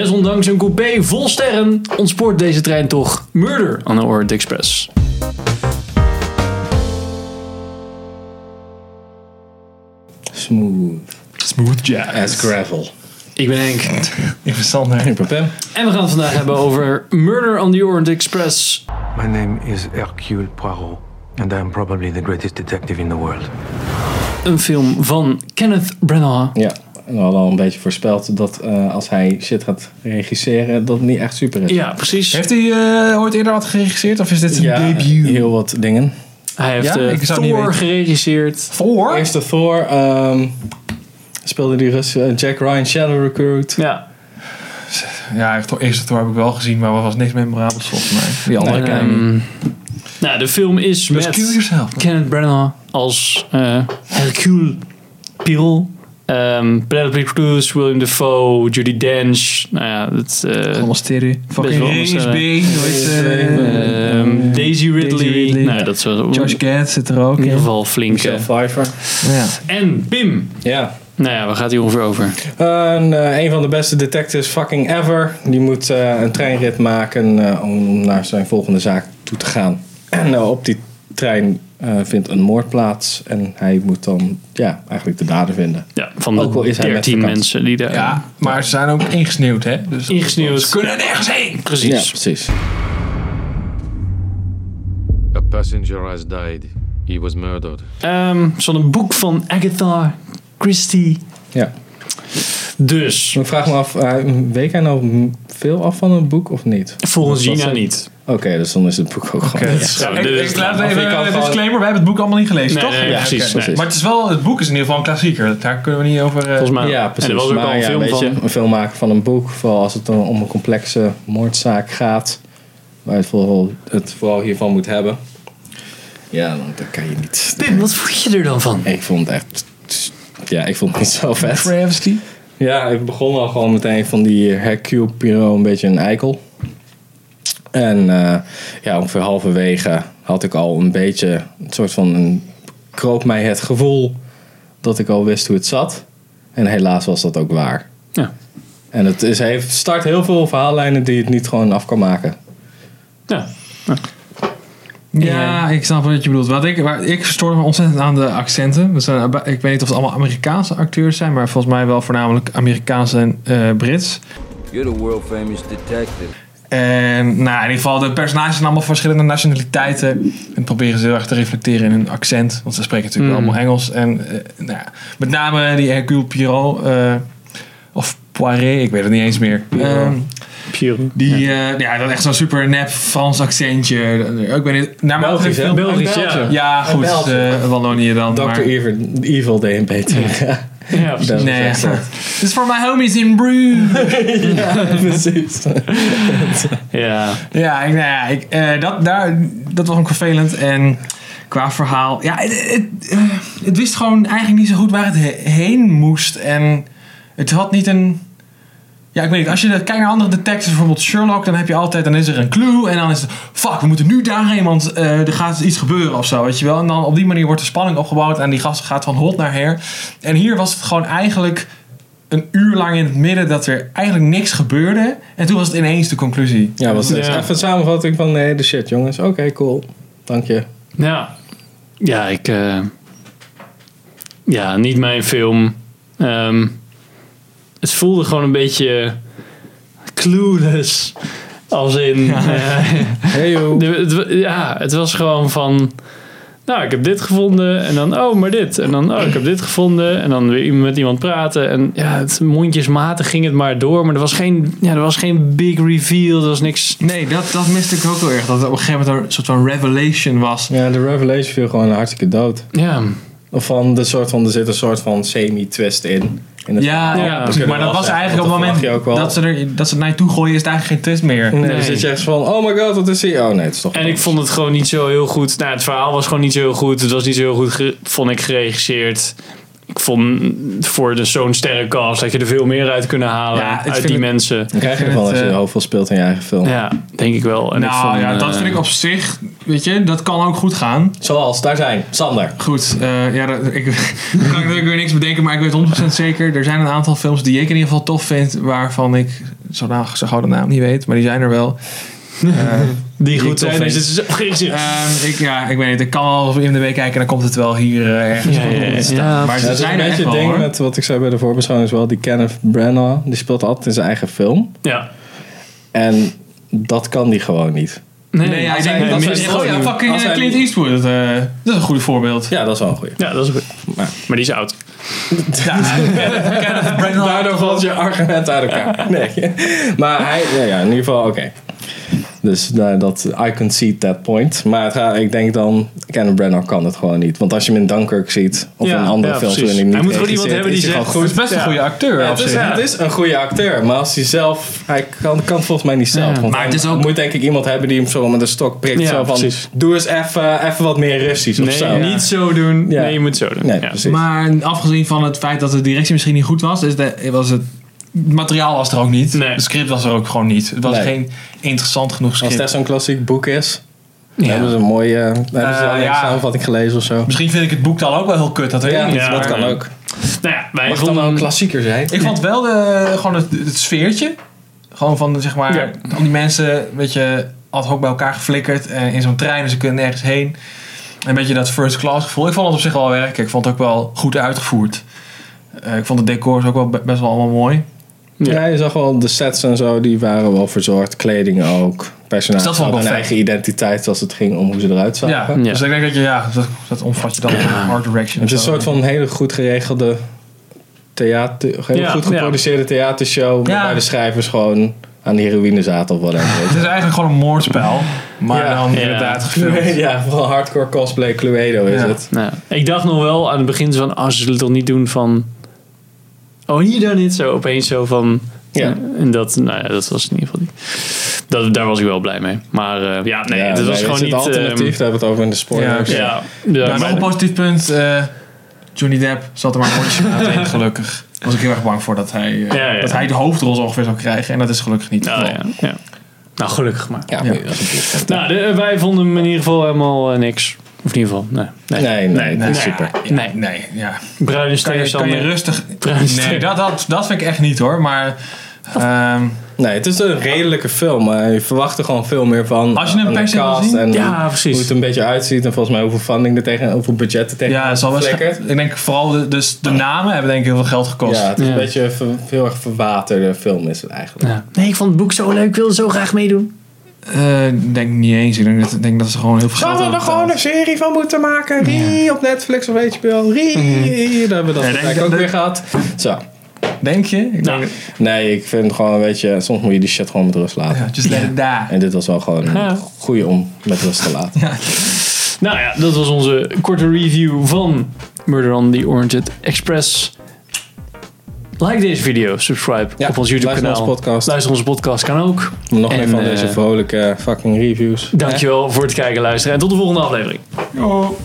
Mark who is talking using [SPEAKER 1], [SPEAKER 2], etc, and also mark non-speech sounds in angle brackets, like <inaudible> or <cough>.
[SPEAKER 1] Desondanks een coupé vol sterren ontspoort deze trein toch Murder on the Orient Express.
[SPEAKER 2] Smooth
[SPEAKER 1] Smooth
[SPEAKER 2] as
[SPEAKER 1] jazz.
[SPEAKER 2] gravel.
[SPEAKER 1] Ik ben Henk.
[SPEAKER 2] Ik ben Sander. Ik ben Pem.
[SPEAKER 1] En we gaan het vandaag hebben over Murder on the Orient Express.
[SPEAKER 3] My name is Hercule Poirot, and I am probably the greatest detective in the world.
[SPEAKER 1] Een film van Kenneth Branagh.
[SPEAKER 2] Ja, we hadden al een beetje voorspeld dat eh, als hij shit gaat regisseren, dat het niet echt super is.
[SPEAKER 1] Ja, precies.
[SPEAKER 4] Heeft hij eh, ooit eerder wat geregisseerd of is dit zijn
[SPEAKER 2] Ja,
[SPEAKER 4] debut?
[SPEAKER 2] heel wat dingen.
[SPEAKER 1] Hij heeft
[SPEAKER 4] Ja?
[SPEAKER 1] eh,
[SPEAKER 4] Ik zou het niet
[SPEAKER 1] Thor
[SPEAKER 4] weten.
[SPEAKER 1] geregisseerd.
[SPEAKER 4] Voor?
[SPEAKER 2] Eerste Thor ehm, speelde die Rus eh, Jack Ryan Shadow Recruit.
[SPEAKER 1] Ja.
[SPEAKER 4] Ja, echt, eerste Thor heb ik wel gezien, maar was niks memorabels volgens mij. Die andere
[SPEAKER 2] Nee,
[SPEAKER 4] nee,
[SPEAKER 1] Ehm, nou, de film is
[SPEAKER 4] Rescue
[SPEAKER 1] met
[SPEAKER 4] Yourself.
[SPEAKER 1] Kenneth Branagh als eh, Hercule Poirot. Ehm Penelope Cruz, William Dafoe, Judy Dench. Nou ja, dat, eh,
[SPEAKER 4] Allemaal sterren. Fucking
[SPEAKER 1] wel
[SPEAKER 4] James
[SPEAKER 1] anders,
[SPEAKER 4] B. hoe heet ze?
[SPEAKER 1] ehm, Daisy Ridley.
[SPEAKER 4] Daisy Ridley.
[SPEAKER 1] Nou, dat is wel
[SPEAKER 4] Josh Gad zit er ook
[SPEAKER 1] in ieder
[SPEAKER 4] in.
[SPEAKER 1] geval flinke.
[SPEAKER 2] Michelle Pfeiffer.
[SPEAKER 4] Ja.
[SPEAKER 1] En Pim.
[SPEAKER 2] Ja.
[SPEAKER 1] Nou ja, waar gaat hij ongeveer over?
[SPEAKER 2] Een, eh, een van de beste detectives fucking ever. Die moet eh, een treinrit maken eh, om naar zijn volgende zaak toe te gaan. En eh, op die trein eh, vindt een moord plaats. En hij moet dan ja, eigenlijk de dader vinden.
[SPEAKER 1] Ja, van de
[SPEAKER 2] Ook al is hij met
[SPEAKER 1] 13
[SPEAKER 2] vakantie.
[SPEAKER 1] mensen die daar...
[SPEAKER 4] ja, maar ze zijn ook ingesneeuwd, hè? Dus
[SPEAKER 1] Ingesneeuwd.
[SPEAKER 4] Ze kunnen nergens heen.
[SPEAKER 1] Precies.
[SPEAKER 2] Ja, precies.
[SPEAKER 5] A passenger has died. He was murdered.
[SPEAKER 1] Ehm, Zo'n een boek van Agatha Christie.
[SPEAKER 2] Ja.
[SPEAKER 1] Dus,
[SPEAKER 2] Ik vraag me af, eh, weet hij nou m- veel af van een boek of niet?
[SPEAKER 1] volgens
[SPEAKER 2] Dat was
[SPEAKER 1] Gina
[SPEAKER 2] het.
[SPEAKER 1] niet.
[SPEAKER 2] Oké, dus dan is het boek ook gewoon.
[SPEAKER 4] Oké.
[SPEAKER 1] Zo,
[SPEAKER 4] Ik,
[SPEAKER 1] dit is
[SPEAKER 4] ik laat
[SPEAKER 1] klaar.
[SPEAKER 2] Of ik kan
[SPEAKER 4] even een
[SPEAKER 2] gewoon-
[SPEAKER 4] disclaimer, wij hebben het boek allemaal niet gelezen,
[SPEAKER 1] Nee,
[SPEAKER 4] toch?
[SPEAKER 1] nee,
[SPEAKER 4] Ja,
[SPEAKER 1] precies,
[SPEAKER 4] oké.
[SPEAKER 1] nee.
[SPEAKER 2] Precies.
[SPEAKER 4] Maar het, is wel, het boek is in ieder geval een klassieker. Daar kunnen we niet over... eh,
[SPEAKER 1] Volgens mij.
[SPEAKER 2] ja, precies.
[SPEAKER 1] En er was ook
[SPEAKER 2] maar
[SPEAKER 1] al een
[SPEAKER 2] ja,
[SPEAKER 1] film
[SPEAKER 2] weet je,
[SPEAKER 1] van.
[SPEAKER 2] een film maken van een boek, vooral als het dan om een complexe moordzaak gaat, waar het vooral, het vooral hiervan moet hebben. Ja, dan, dan kan je niet.
[SPEAKER 1] Pim, wat vond je er dan van?
[SPEAKER 2] Ik vond het echt. Ja, ik vond het niet zo vet.
[SPEAKER 4] Travesty.
[SPEAKER 2] Ja, ik begon al gewoon meteen van die Hercule Poirot een beetje een eikel. En eh, ja, ongeveer halverwege had ik al een beetje, een soort van, een, kroop mij het gevoel dat ik al wist hoe het zat. En helaas was dat ook waar.
[SPEAKER 1] Ja.
[SPEAKER 2] En het is, heeft start heel veel verhaallijnen die het niet gewoon af kan maken.
[SPEAKER 1] Ja.
[SPEAKER 4] Ja, ik snap wat je bedoelt. Wat ik, waar, ik verstoor me ontzettend aan de accenten. We zijn, ik weet niet of het allemaal Amerikaanse acteurs zijn, maar volgens mij wel voornamelijk Amerikaans en eh, Brits.
[SPEAKER 6] You're the world famous detective.
[SPEAKER 4] En nou, in ieder geval, de personages zijn allemaal verschillende nationaliteiten. En proberen ze heel erg te reflecteren in hun accent. Want ze spreken natuurlijk
[SPEAKER 1] Mm.
[SPEAKER 4] allemaal Engels. En eh, nou, ja, met name die Hercule Poirot. eh, of Poiré, ik weet het niet eens meer. Ehm,
[SPEAKER 1] Piero.
[SPEAKER 4] die, ja. ja, dat echt zo'n super nep Frans accentje. Ik weet niet, naar welke
[SPEAKER 2] Belgisch, hè?
[SPEAKER 4] film-
[SPEAKER 1] Belgisch, ja.
[SPEAKER 2] België.
[SPEAKER 4] Ja, goed.
[SPEAKER 2] België.
[SPEAKER 4] eh, Wallonië dan.
[SPEAKER 2] Dr.
[SPEAKER 4] maar-
[SPEAKER 2] Evil, Evil deed hem beter. <laughs> Ja,
[SPEAKER 1] Ja, precies.
[SPEAKER 2] dat is
[SPEAKER 4] Nee, <laughs>
[SPEAKER 2] echt zo.
[SPEAKER 4] This is for my homies in Brew.
[SPEAKER 2] Ja, precies.
[SPEAKER 1] Ja.
[SPEAKER 4] ja, ik, nou ja ik, eh, dat, daar, dat was ook vervelend. En qua verhaal, ja, het, het, eh, het wist gewoon eigenlijk niet zo goed waar het he- heen moest. En het had niet een... Ja, ik weet niet. Als je kijkt naar andere detectives, bijvoorbeeld Sherlock, dan heb je altijd, dan is er een clue en dan is het, fuck, we moeten nu daarheen, want eh, er gaat iets gebeuren of zo, weet je wel. En dan op die manier wordt de spanning opgebouwd en die gast gaat van hot naar her. En hier was het gewoon eigenlijk een uur lang in het midden dat er eigenlijk niks gebeurde. En toen was het ineens de conclusie.
[SPEAKER 2] Ja, was het.
[SPEAKER 1] Ja.
[SPEAKER 2] Even een samenvatting van nee, de shit, jongens. Oké, cool. Dank je.
[SPEAKER 1] Ja. Ja, ik... eh, ja, niet mijn film. Ehm, het voelde gewoon een beetje clueless. Als in... eh,
[SPEAKER 2] Hey, yo.
[SPEAKER 1] De- het wa- ja, het was gewoon van. Nou, ik heb dit gevonden en dan, oh, maar dit. En dan, oh, ik heb dit gevonden. En dan weer iemand- met iemand praten. En ja, het, mondjesmatig ging het maar door. Maar er was geen, ja, er was geen big reveal. Er was niks.
[SPEAKER 4] Nee, dat, dat miste ik ook wel erg. Dat er op een gegeven moment een soort van revelation was.
[SPEAKER 2] Ja, de Revelation viel gewoon hartstikke dood.
[SPEAKER 1] Ja,
[SPEAKER 2] Of van de soort van, er zit een soort van semi-twist in. in het
[SPEAKER 4] Ja,
[SPEAKER 2] verhaal.
[SPEAKER 1] ja,
[SPEAKER 4] ja,
[SPEAKER 2] kunnen
[SPEAKER 4] maar
[SPEAKER 2] we
[SPEAKER 4] dat
[SPEAKER 2] wel
[SPEAKER 4] was
[SPEAKER 2] zeggen,
[SPEAKER 4] eigenlijk op het
[SPEAKER 2] want
[SPEAKER 4] moment
[SPEAKER 2] dat verwacht je ook wel.
[SPEAKER 4] dat ze, er, dat ze het naar je toe gooien, is het eigenlijk geen twist meer.
[SPEAKER 2] Nee,
[SPEAKER 1] Nee.
[SPEAKER 2] dan zit je echt van, oh my god, wat is hier? Oh nee, het is toch...
[SPEAKER 1] en ik vond het gewoon niet zo heel goed. Nou, het verhaal was gewoon niet zo heel goed. Het was niet zo heel goed, ge- vond ik, geregisseerd. Ik vond voor de- zo'n sterke cast dat je er veel meer uit kunnen halen.
[SPEAKER 4] Ja, ik
[SPEAKER 1] uit
[SPEAKER 4] vind
[SPEAKER 1] die
[SPEAKER 4] het-
[SPEAKER 1] mensen.
[SPEAKER 2] Dan krijg je ervan
[SPEAKER 4] Ik vind
[SPEAKER 2] als je
[SPEAKER 4] het, eh,
[SPEAKER 2] hoofdrol speelt in je eigen film.
[SPEAKER 1] Ja, denk ik wel. En ik
[SPEAKER 4] nou
[SPEAKER 1] vond,
[SPEAKER 4] ja, dat
[SPEAKER 1] eh,
[SPEAKER 4] vind ik op zich, weet je, dat kan ook goed gaan.
[SPEAKER 2] Zoals, daar zijn, Sander.
[SPEAKER 4] Goed, eh, ja, dat, ik <laughs> dan kan ik natuurlijk weer niks bedenken, maar ik weet 100% zeker. Er zijn een aantal films die ik in ieder geval tof vind, waarvan ik zodanig zo gauw de naam niet weet, maar die zijn er wel.
[SPEAKER 1] Die
[SPEAKER 4] Ik
[SPEAKER 1] goed zijn,
[SPEAKER 4] toch
[SPEAKER 1] dus <laughs>
[SPEAKER 4] weet.
[SPEAKER 1] het is op geen zin.
[SPEAKER 4] Ehm, ik, ja, ik weet niet. Ik kan al op IMDb kijken en dan komt het wel hier eh, ergens.
[SPEAKER 1] Ja, ja, ja. Ja,
[SPEAKER 4] maar
[SPEAKER 2] Ja,
[SPEAKER 4] ze
[SPEAKER 2] het is
[SPEAKER 4] zijn
[SPEAKER 2] een
[SPEAKER 4] er echt
[SPEAKER 2] beetje het
[SPEAKER 4] wel,
[SPEAKER 2] ding
[SPEAKER 4] hoor.
[SPEAKER 2] met wat ik zei bij de voorbeschouwing is wel, die Kenneth Branagh, die speelt altijd in zijn eigen film.
[SPEAKER 1] Ja.
[SPEAKER 2] En dat kan die gewoon niet.
[SPEAKER 4] Nee, ja, ik
[SPEAKER 2] hij-
[SPEAKER 4] denk dat
[SPEAKER 2] hij
[SPEAKER 4] ze-
[SPEAKER 2] mist
[SPEAKER 4] Oh ja,
[SPEAKER 2] gewoon-
[SPEAKER 4] fucking
[SPEAKER 2] als
[SPEAKER 4] eh,
[SPEAKER 2] hij-
[SPEAKER 4] Clint Eastwood. Dat, eh, dat is een goed voorbeeld.
[SPEAKER 2] Ja, dat is wel
[SPEAKER 1] <laughs>
[SPEAKER 2] een goeie.
[SPEAKER 1] Ja, dat is goed.
[SPEAKER 2] Maar-
[SPEAKER 1] Maar die is oud.
[SPEAKER 2] Daardoor valt je argument uit elkaar. <laughs> Nee. Maar hij, ja, ja, in ieder geval, oké. Dus nou, dat, I can see that point. Maar het gaat- ik denk dan, Kenneth Branagh kan het gewoon niet. Want als je hem in Dunkirk ziet, of
[SPEAKER 1] Ja,
[SPEAKER 2] een andere
[SPEAKER 1] ja,
[SPEAKER 2] film,
[SPEAKER 1] precies.
[SPEAKER 2] waarin
[SPEAKER 1] Hij
[SPEAKER 2] niet
[SPEAKER 1] moet gewoon iemand
[SPEAKER 2] regisseert,
[SPEAKER 1] hebben die
[SPEAKER 2] is hij
[SPEAKER 1] zegt,
[SPEAKER 2] gewoon
[SPEAKER 4] Het is best een
[SPEAKER 1] Ja.
[SPEAKER 4] goede acteur.
[SPEAKER 2] Ja,
[SPEAKER 4] op
[SPEAKER 2] het, is,
[SPEAKER 4] zich.
[SPEAKER 2] het is een goede acteur, maar als hij zelf, hij kan, kan het volgens mij niet zelf.
[SPEAKER 1] Ja.
[SPEAKER 2] want
[SPEAKER 4] Maar het
[SPEAKER 2] hij
[SPEAKER 4] is ook-
[SPEAKER 2] moet denk ik iemand hebben die hem zo met een stok prikt.
[SPEAKER 1] Ja,
[SPEAKER 2] zo van,
[SPEAKER 1] precies.
[SPEAKER 2] doe eens even even wat meer Russisch of
[SPEAKER 1] Nee,
[SPEAKER 2] zo.
[SPEAKER 1] niet zo doen.
[SPEAKER 2] Ja.
[SPEAKER 1] Nee, je moet zo doen.
[SPEAKER 2] Nee,
[SPEAKER 1] ja.
[SPEAKER 2] precies.
[SPEAKER 4] Maar afgezien van het feit dat de directie misschien niet goed was, dus de, was het het materiaal was er ook niet.
[SPEAKER 1] Nee.
[SPEAKER 4] Het script was er ook gewoon niet. Het was
[SPEAKER 2] Nee.
[SPEAKER 4] geen interessant genoeg
[SPEAKER 2] Als
[SPEAKER 4] script.
[SPEAKER 2] dat zo'n klassiek boek is, dan
[SPEAKER 4] Ja.
[SPEAKER 2] hebben ze een mooie dan hebben ze
[SPEAKER 4] Eh,
[SPEAKER 2] wel een
[SPEAKER 4] ja.
[SPEAKER 2] samenvatting gelezen of zo.
[SPEAKER 4] Misschien vind ik het boek dan ook wel heel kut. Dat weet ik
[SPEAKER 2] Ja,
[SPEAKER 4] niet.
[SPEAKER 1] ja,
[SPEAKER 2] dat
[SPEAKER 4] maar-
[SPEAKER 2] kan
[SPEAKER 1] ja.
[SPEAKER 2] ook.
[SPEAKER 1] Nou ja, wij
[SPEAKER 2] Mag het dan
[SPEAKER 1] vonden
[SPEAKER 2] wel een klassieker zijn?
[SPEAKER 4] Ik vond wel de, gewoon het, het sfeertje. Gewoon van zeg maar,
[SPEAKER 1] Ja.
[SPEAKER 4] al die mensen, weet je, ad hoc bij elkaar geflikkerd eh, in zo'n trein, dus ze kunnen nergens heen. Een beetje dat first class gevoel. Ik vond het op zich wel werken. Ik vond het ook wel goed uitgevoerd. Eh, ik vond de decors ook wel be- best wel allemaal mooi.
[SPEAKER 1] Ja.
[SPEAKER 2] Ja. je zag wel de sets en zo, die waren wel verzorgd. Kleding ook. Personages
[SPEAKER 4] Dus dat vond ik wel
[SPEAKER 2] hadden een
[SPEAKER 4] vet.
[SPEAKER 2] eigen identiteit als het ging om hoe ze eruit zagen.
[SPEAKER 4] Ja, dus ik denk dat je, ja, dat, dat omvat je dan in art direction.
[SPEAKER 2] Het is een
[SPEAKER 4] of zo.
[SPEAKER 2] soort van hele goed geregelde theater, heel
[SPEAKER 1] Ja,
[SPEAKER 2] goed
[SPEAKER 1] ja.
[SPEAKER 2] geproduceerde theatershow
[SPEAKER 4] Ja.
[SPEAKER 2] waar de schrijvers gewoon aan de heroïne zaten of whatever.
[SPEAKER 4] <laughs>
[SPEAKER 2] weet
[SPEAKER 4] Het is eigenlijk gewoon een moordspel, maar
[SPEAKER 2] Ja.
[SPEAKER 4] dan
[SPEAKER 1] Ja.
[SPEAKER 4] inderdaad
[SPEAKER 2] je.
[SPEAKER 4] gefilmd.
[SPEAKER 2] ja, vooral hardcore cosplay Cluedo is
[SPEAKER 4] Ja.
[SPEAKER 2] het.
[SPEAKER 1] Nou, ik dacht nog wel aan het begin zo van, oh, ze zullen het toch niet doen van... Oh, hier dan niet zo opeens zo van...
[SPEAKER 2] Ja.
[SPEAKER 1] En dat, nou ja, dat was in ieder geval niet... Dat, daar was ik wel blij mee. Maar eh, ja, nee,
[SPEAKER 2] Ja,
[SPEAKER 1] dat
[SPEAKER 2] nee,
[SPEAKER 1] was
[SPEAKER 2] dit
[SPEAKER 1] gewoon
[SPEAKER 2] is
[SPEAKER 1] niet...
[SPEAKER 2] het alternatief, daar hebben we het over in de sport.
[SPEAKER 4] Ja,
[SPEAKER 1] ehm,
[SPEAKER 4] oké.
[SPEAKER 1] ja, ja,
[SPEAKER 4] Ja, nog een
[SPEAKER 1] maar,
[SPEAKER 4] positief punt. eh, Johnny Depp zat er maar
[SPEAKER 2] <laughs>
[SPEAKER 4] een potje aan het einde, gelukkig. was ik heel erg bang voor dat hij, eh,
[SPEAKER 1] Ja, ja.
[SPEAKER 4] dat hij de hoofdrol zo ongeveer zou krijgen. En dat is gelukkig niet het
[SPEAKER 1] nou,
[SPEAKER 4] geval.
[SPEAKER 1] ja, ja. nou, gelukkig maar.
[SPEAKER 2] Ja,
[SPEAKER 4] Ja.
[SPEAKER 2] maar dat is een goed punt.
[SPEAKER 1] Nou, de- wij vonden hem in ieder geval helemaal eh, niks. Of in ieder geval, nee. Nee,
[SPEAKER 2] Nee,
[SPEAKER 1] nee,
[SPEAKER 2] nee, dat is
[SPEAKER 1] nee.
[SPEAKER 2] super.
[SPEAKER 1] Ja, nee.
[SPEAKER 4] Nee, ja.
[SPEAKER 1] Bruine
[SPEAKER 4] Kan je, kan je
[SPEAKER 1] tegenstander.
[SPEAKER 4] rustig...
[SPEAKER 1] <laughs> Trouwens,
[SPEAKER 4] Nee, dat, dat, dat vind ik echt niet hoor. Maar ehm,
[SPEAKER 2] Nee, het is een redelijke film, maar je verwacht er gewoon veel meer van. eh,
[SPEAKER 4] Als je hem
[SPEAKER 2] aan de
[SPEAKER 4] per se wil
[SPEAKER 2] cast
[SPEAKER 4] zien?
[SPEAKER 2] en
[SPEAKER 1] Ja, precies.
[SPEAKER 2] hoe het een beetje uitziet en volgens mij hoeveel funding er tegen, hoeveel budget er tegen
[SPEAKER 4] ja, het zal wel
[SPEAKER 2] flikkert.
[SPEAKER 4] Ik denk vooral de, dus de namen hebben denk ik heel veel geld gekost.
[SPEAKER 2] Ja, het is
[SPEAKER 1] Ja.
[SPEAKER 2] een beetje een ver- heel erg verwaterde film is het eigenlijk.
[SPEAKER 1] Ja. Nee, ik vond het boek zo leuk. Ik wilde zo graag meedoen.
[SPEAKER 4] Eh, Ik denk niet eens. Ik denk dat, ik denk dat ze gewoon heel veel geld hebben betaald.
[SPEAKER 2] serie van moeten maken? Rie op Netflix of HBO. Rie,
[SPEAKER 4] Mhm.
[SPEAKER 2] daar hebben we dat
[SPEAKER 4] Ja,
[SPEAKER 2] gesprek
[SPEAKER 4] denk-
[SPEAKER 2] ook
[SPEAKER 4] denk-
[SPEAKER 2] weer gehad. Zo.
[SPEAKER 4] Denk je? Ik
[SPEAKER 1] Nou,
[SPEAKER 4] denk,
[SPEAKER 2] Nee, ik vind gewoon, weet je, soms moet je die shit gewoon met rust laten.
[SPEAKER 4] ja, just let it die.
[SPEAKER 2] En dit was wel gewoon
[SPEAKER 1] Ja.
[SPEAKER 2] een goeie om met rust te laten.
[SPEAKER 1] Nou ja, dat was onze korte review van Murder on the Orange Express. Like deze video, subscribe
[SPEAKER 2] Ja,
[SPEAKER 1] op ons YouTube kanaal.
[SPEAKER 2] luister onze podcast.
[SPEAKER 1] Luister onze podcast kan ook.
[SPEAKER 2] Nog
[SPEAKER 1] En,
[SPEAKER 2] een van
[SPEAKER 1] eh,
[SPEAKER 2] deze vrolijke fucking reviews.
[SPEAKER 1] Dankjewel voor het kijken en luisteren. En tot de volgende aflevering.
[SPEAKER 4] Yo.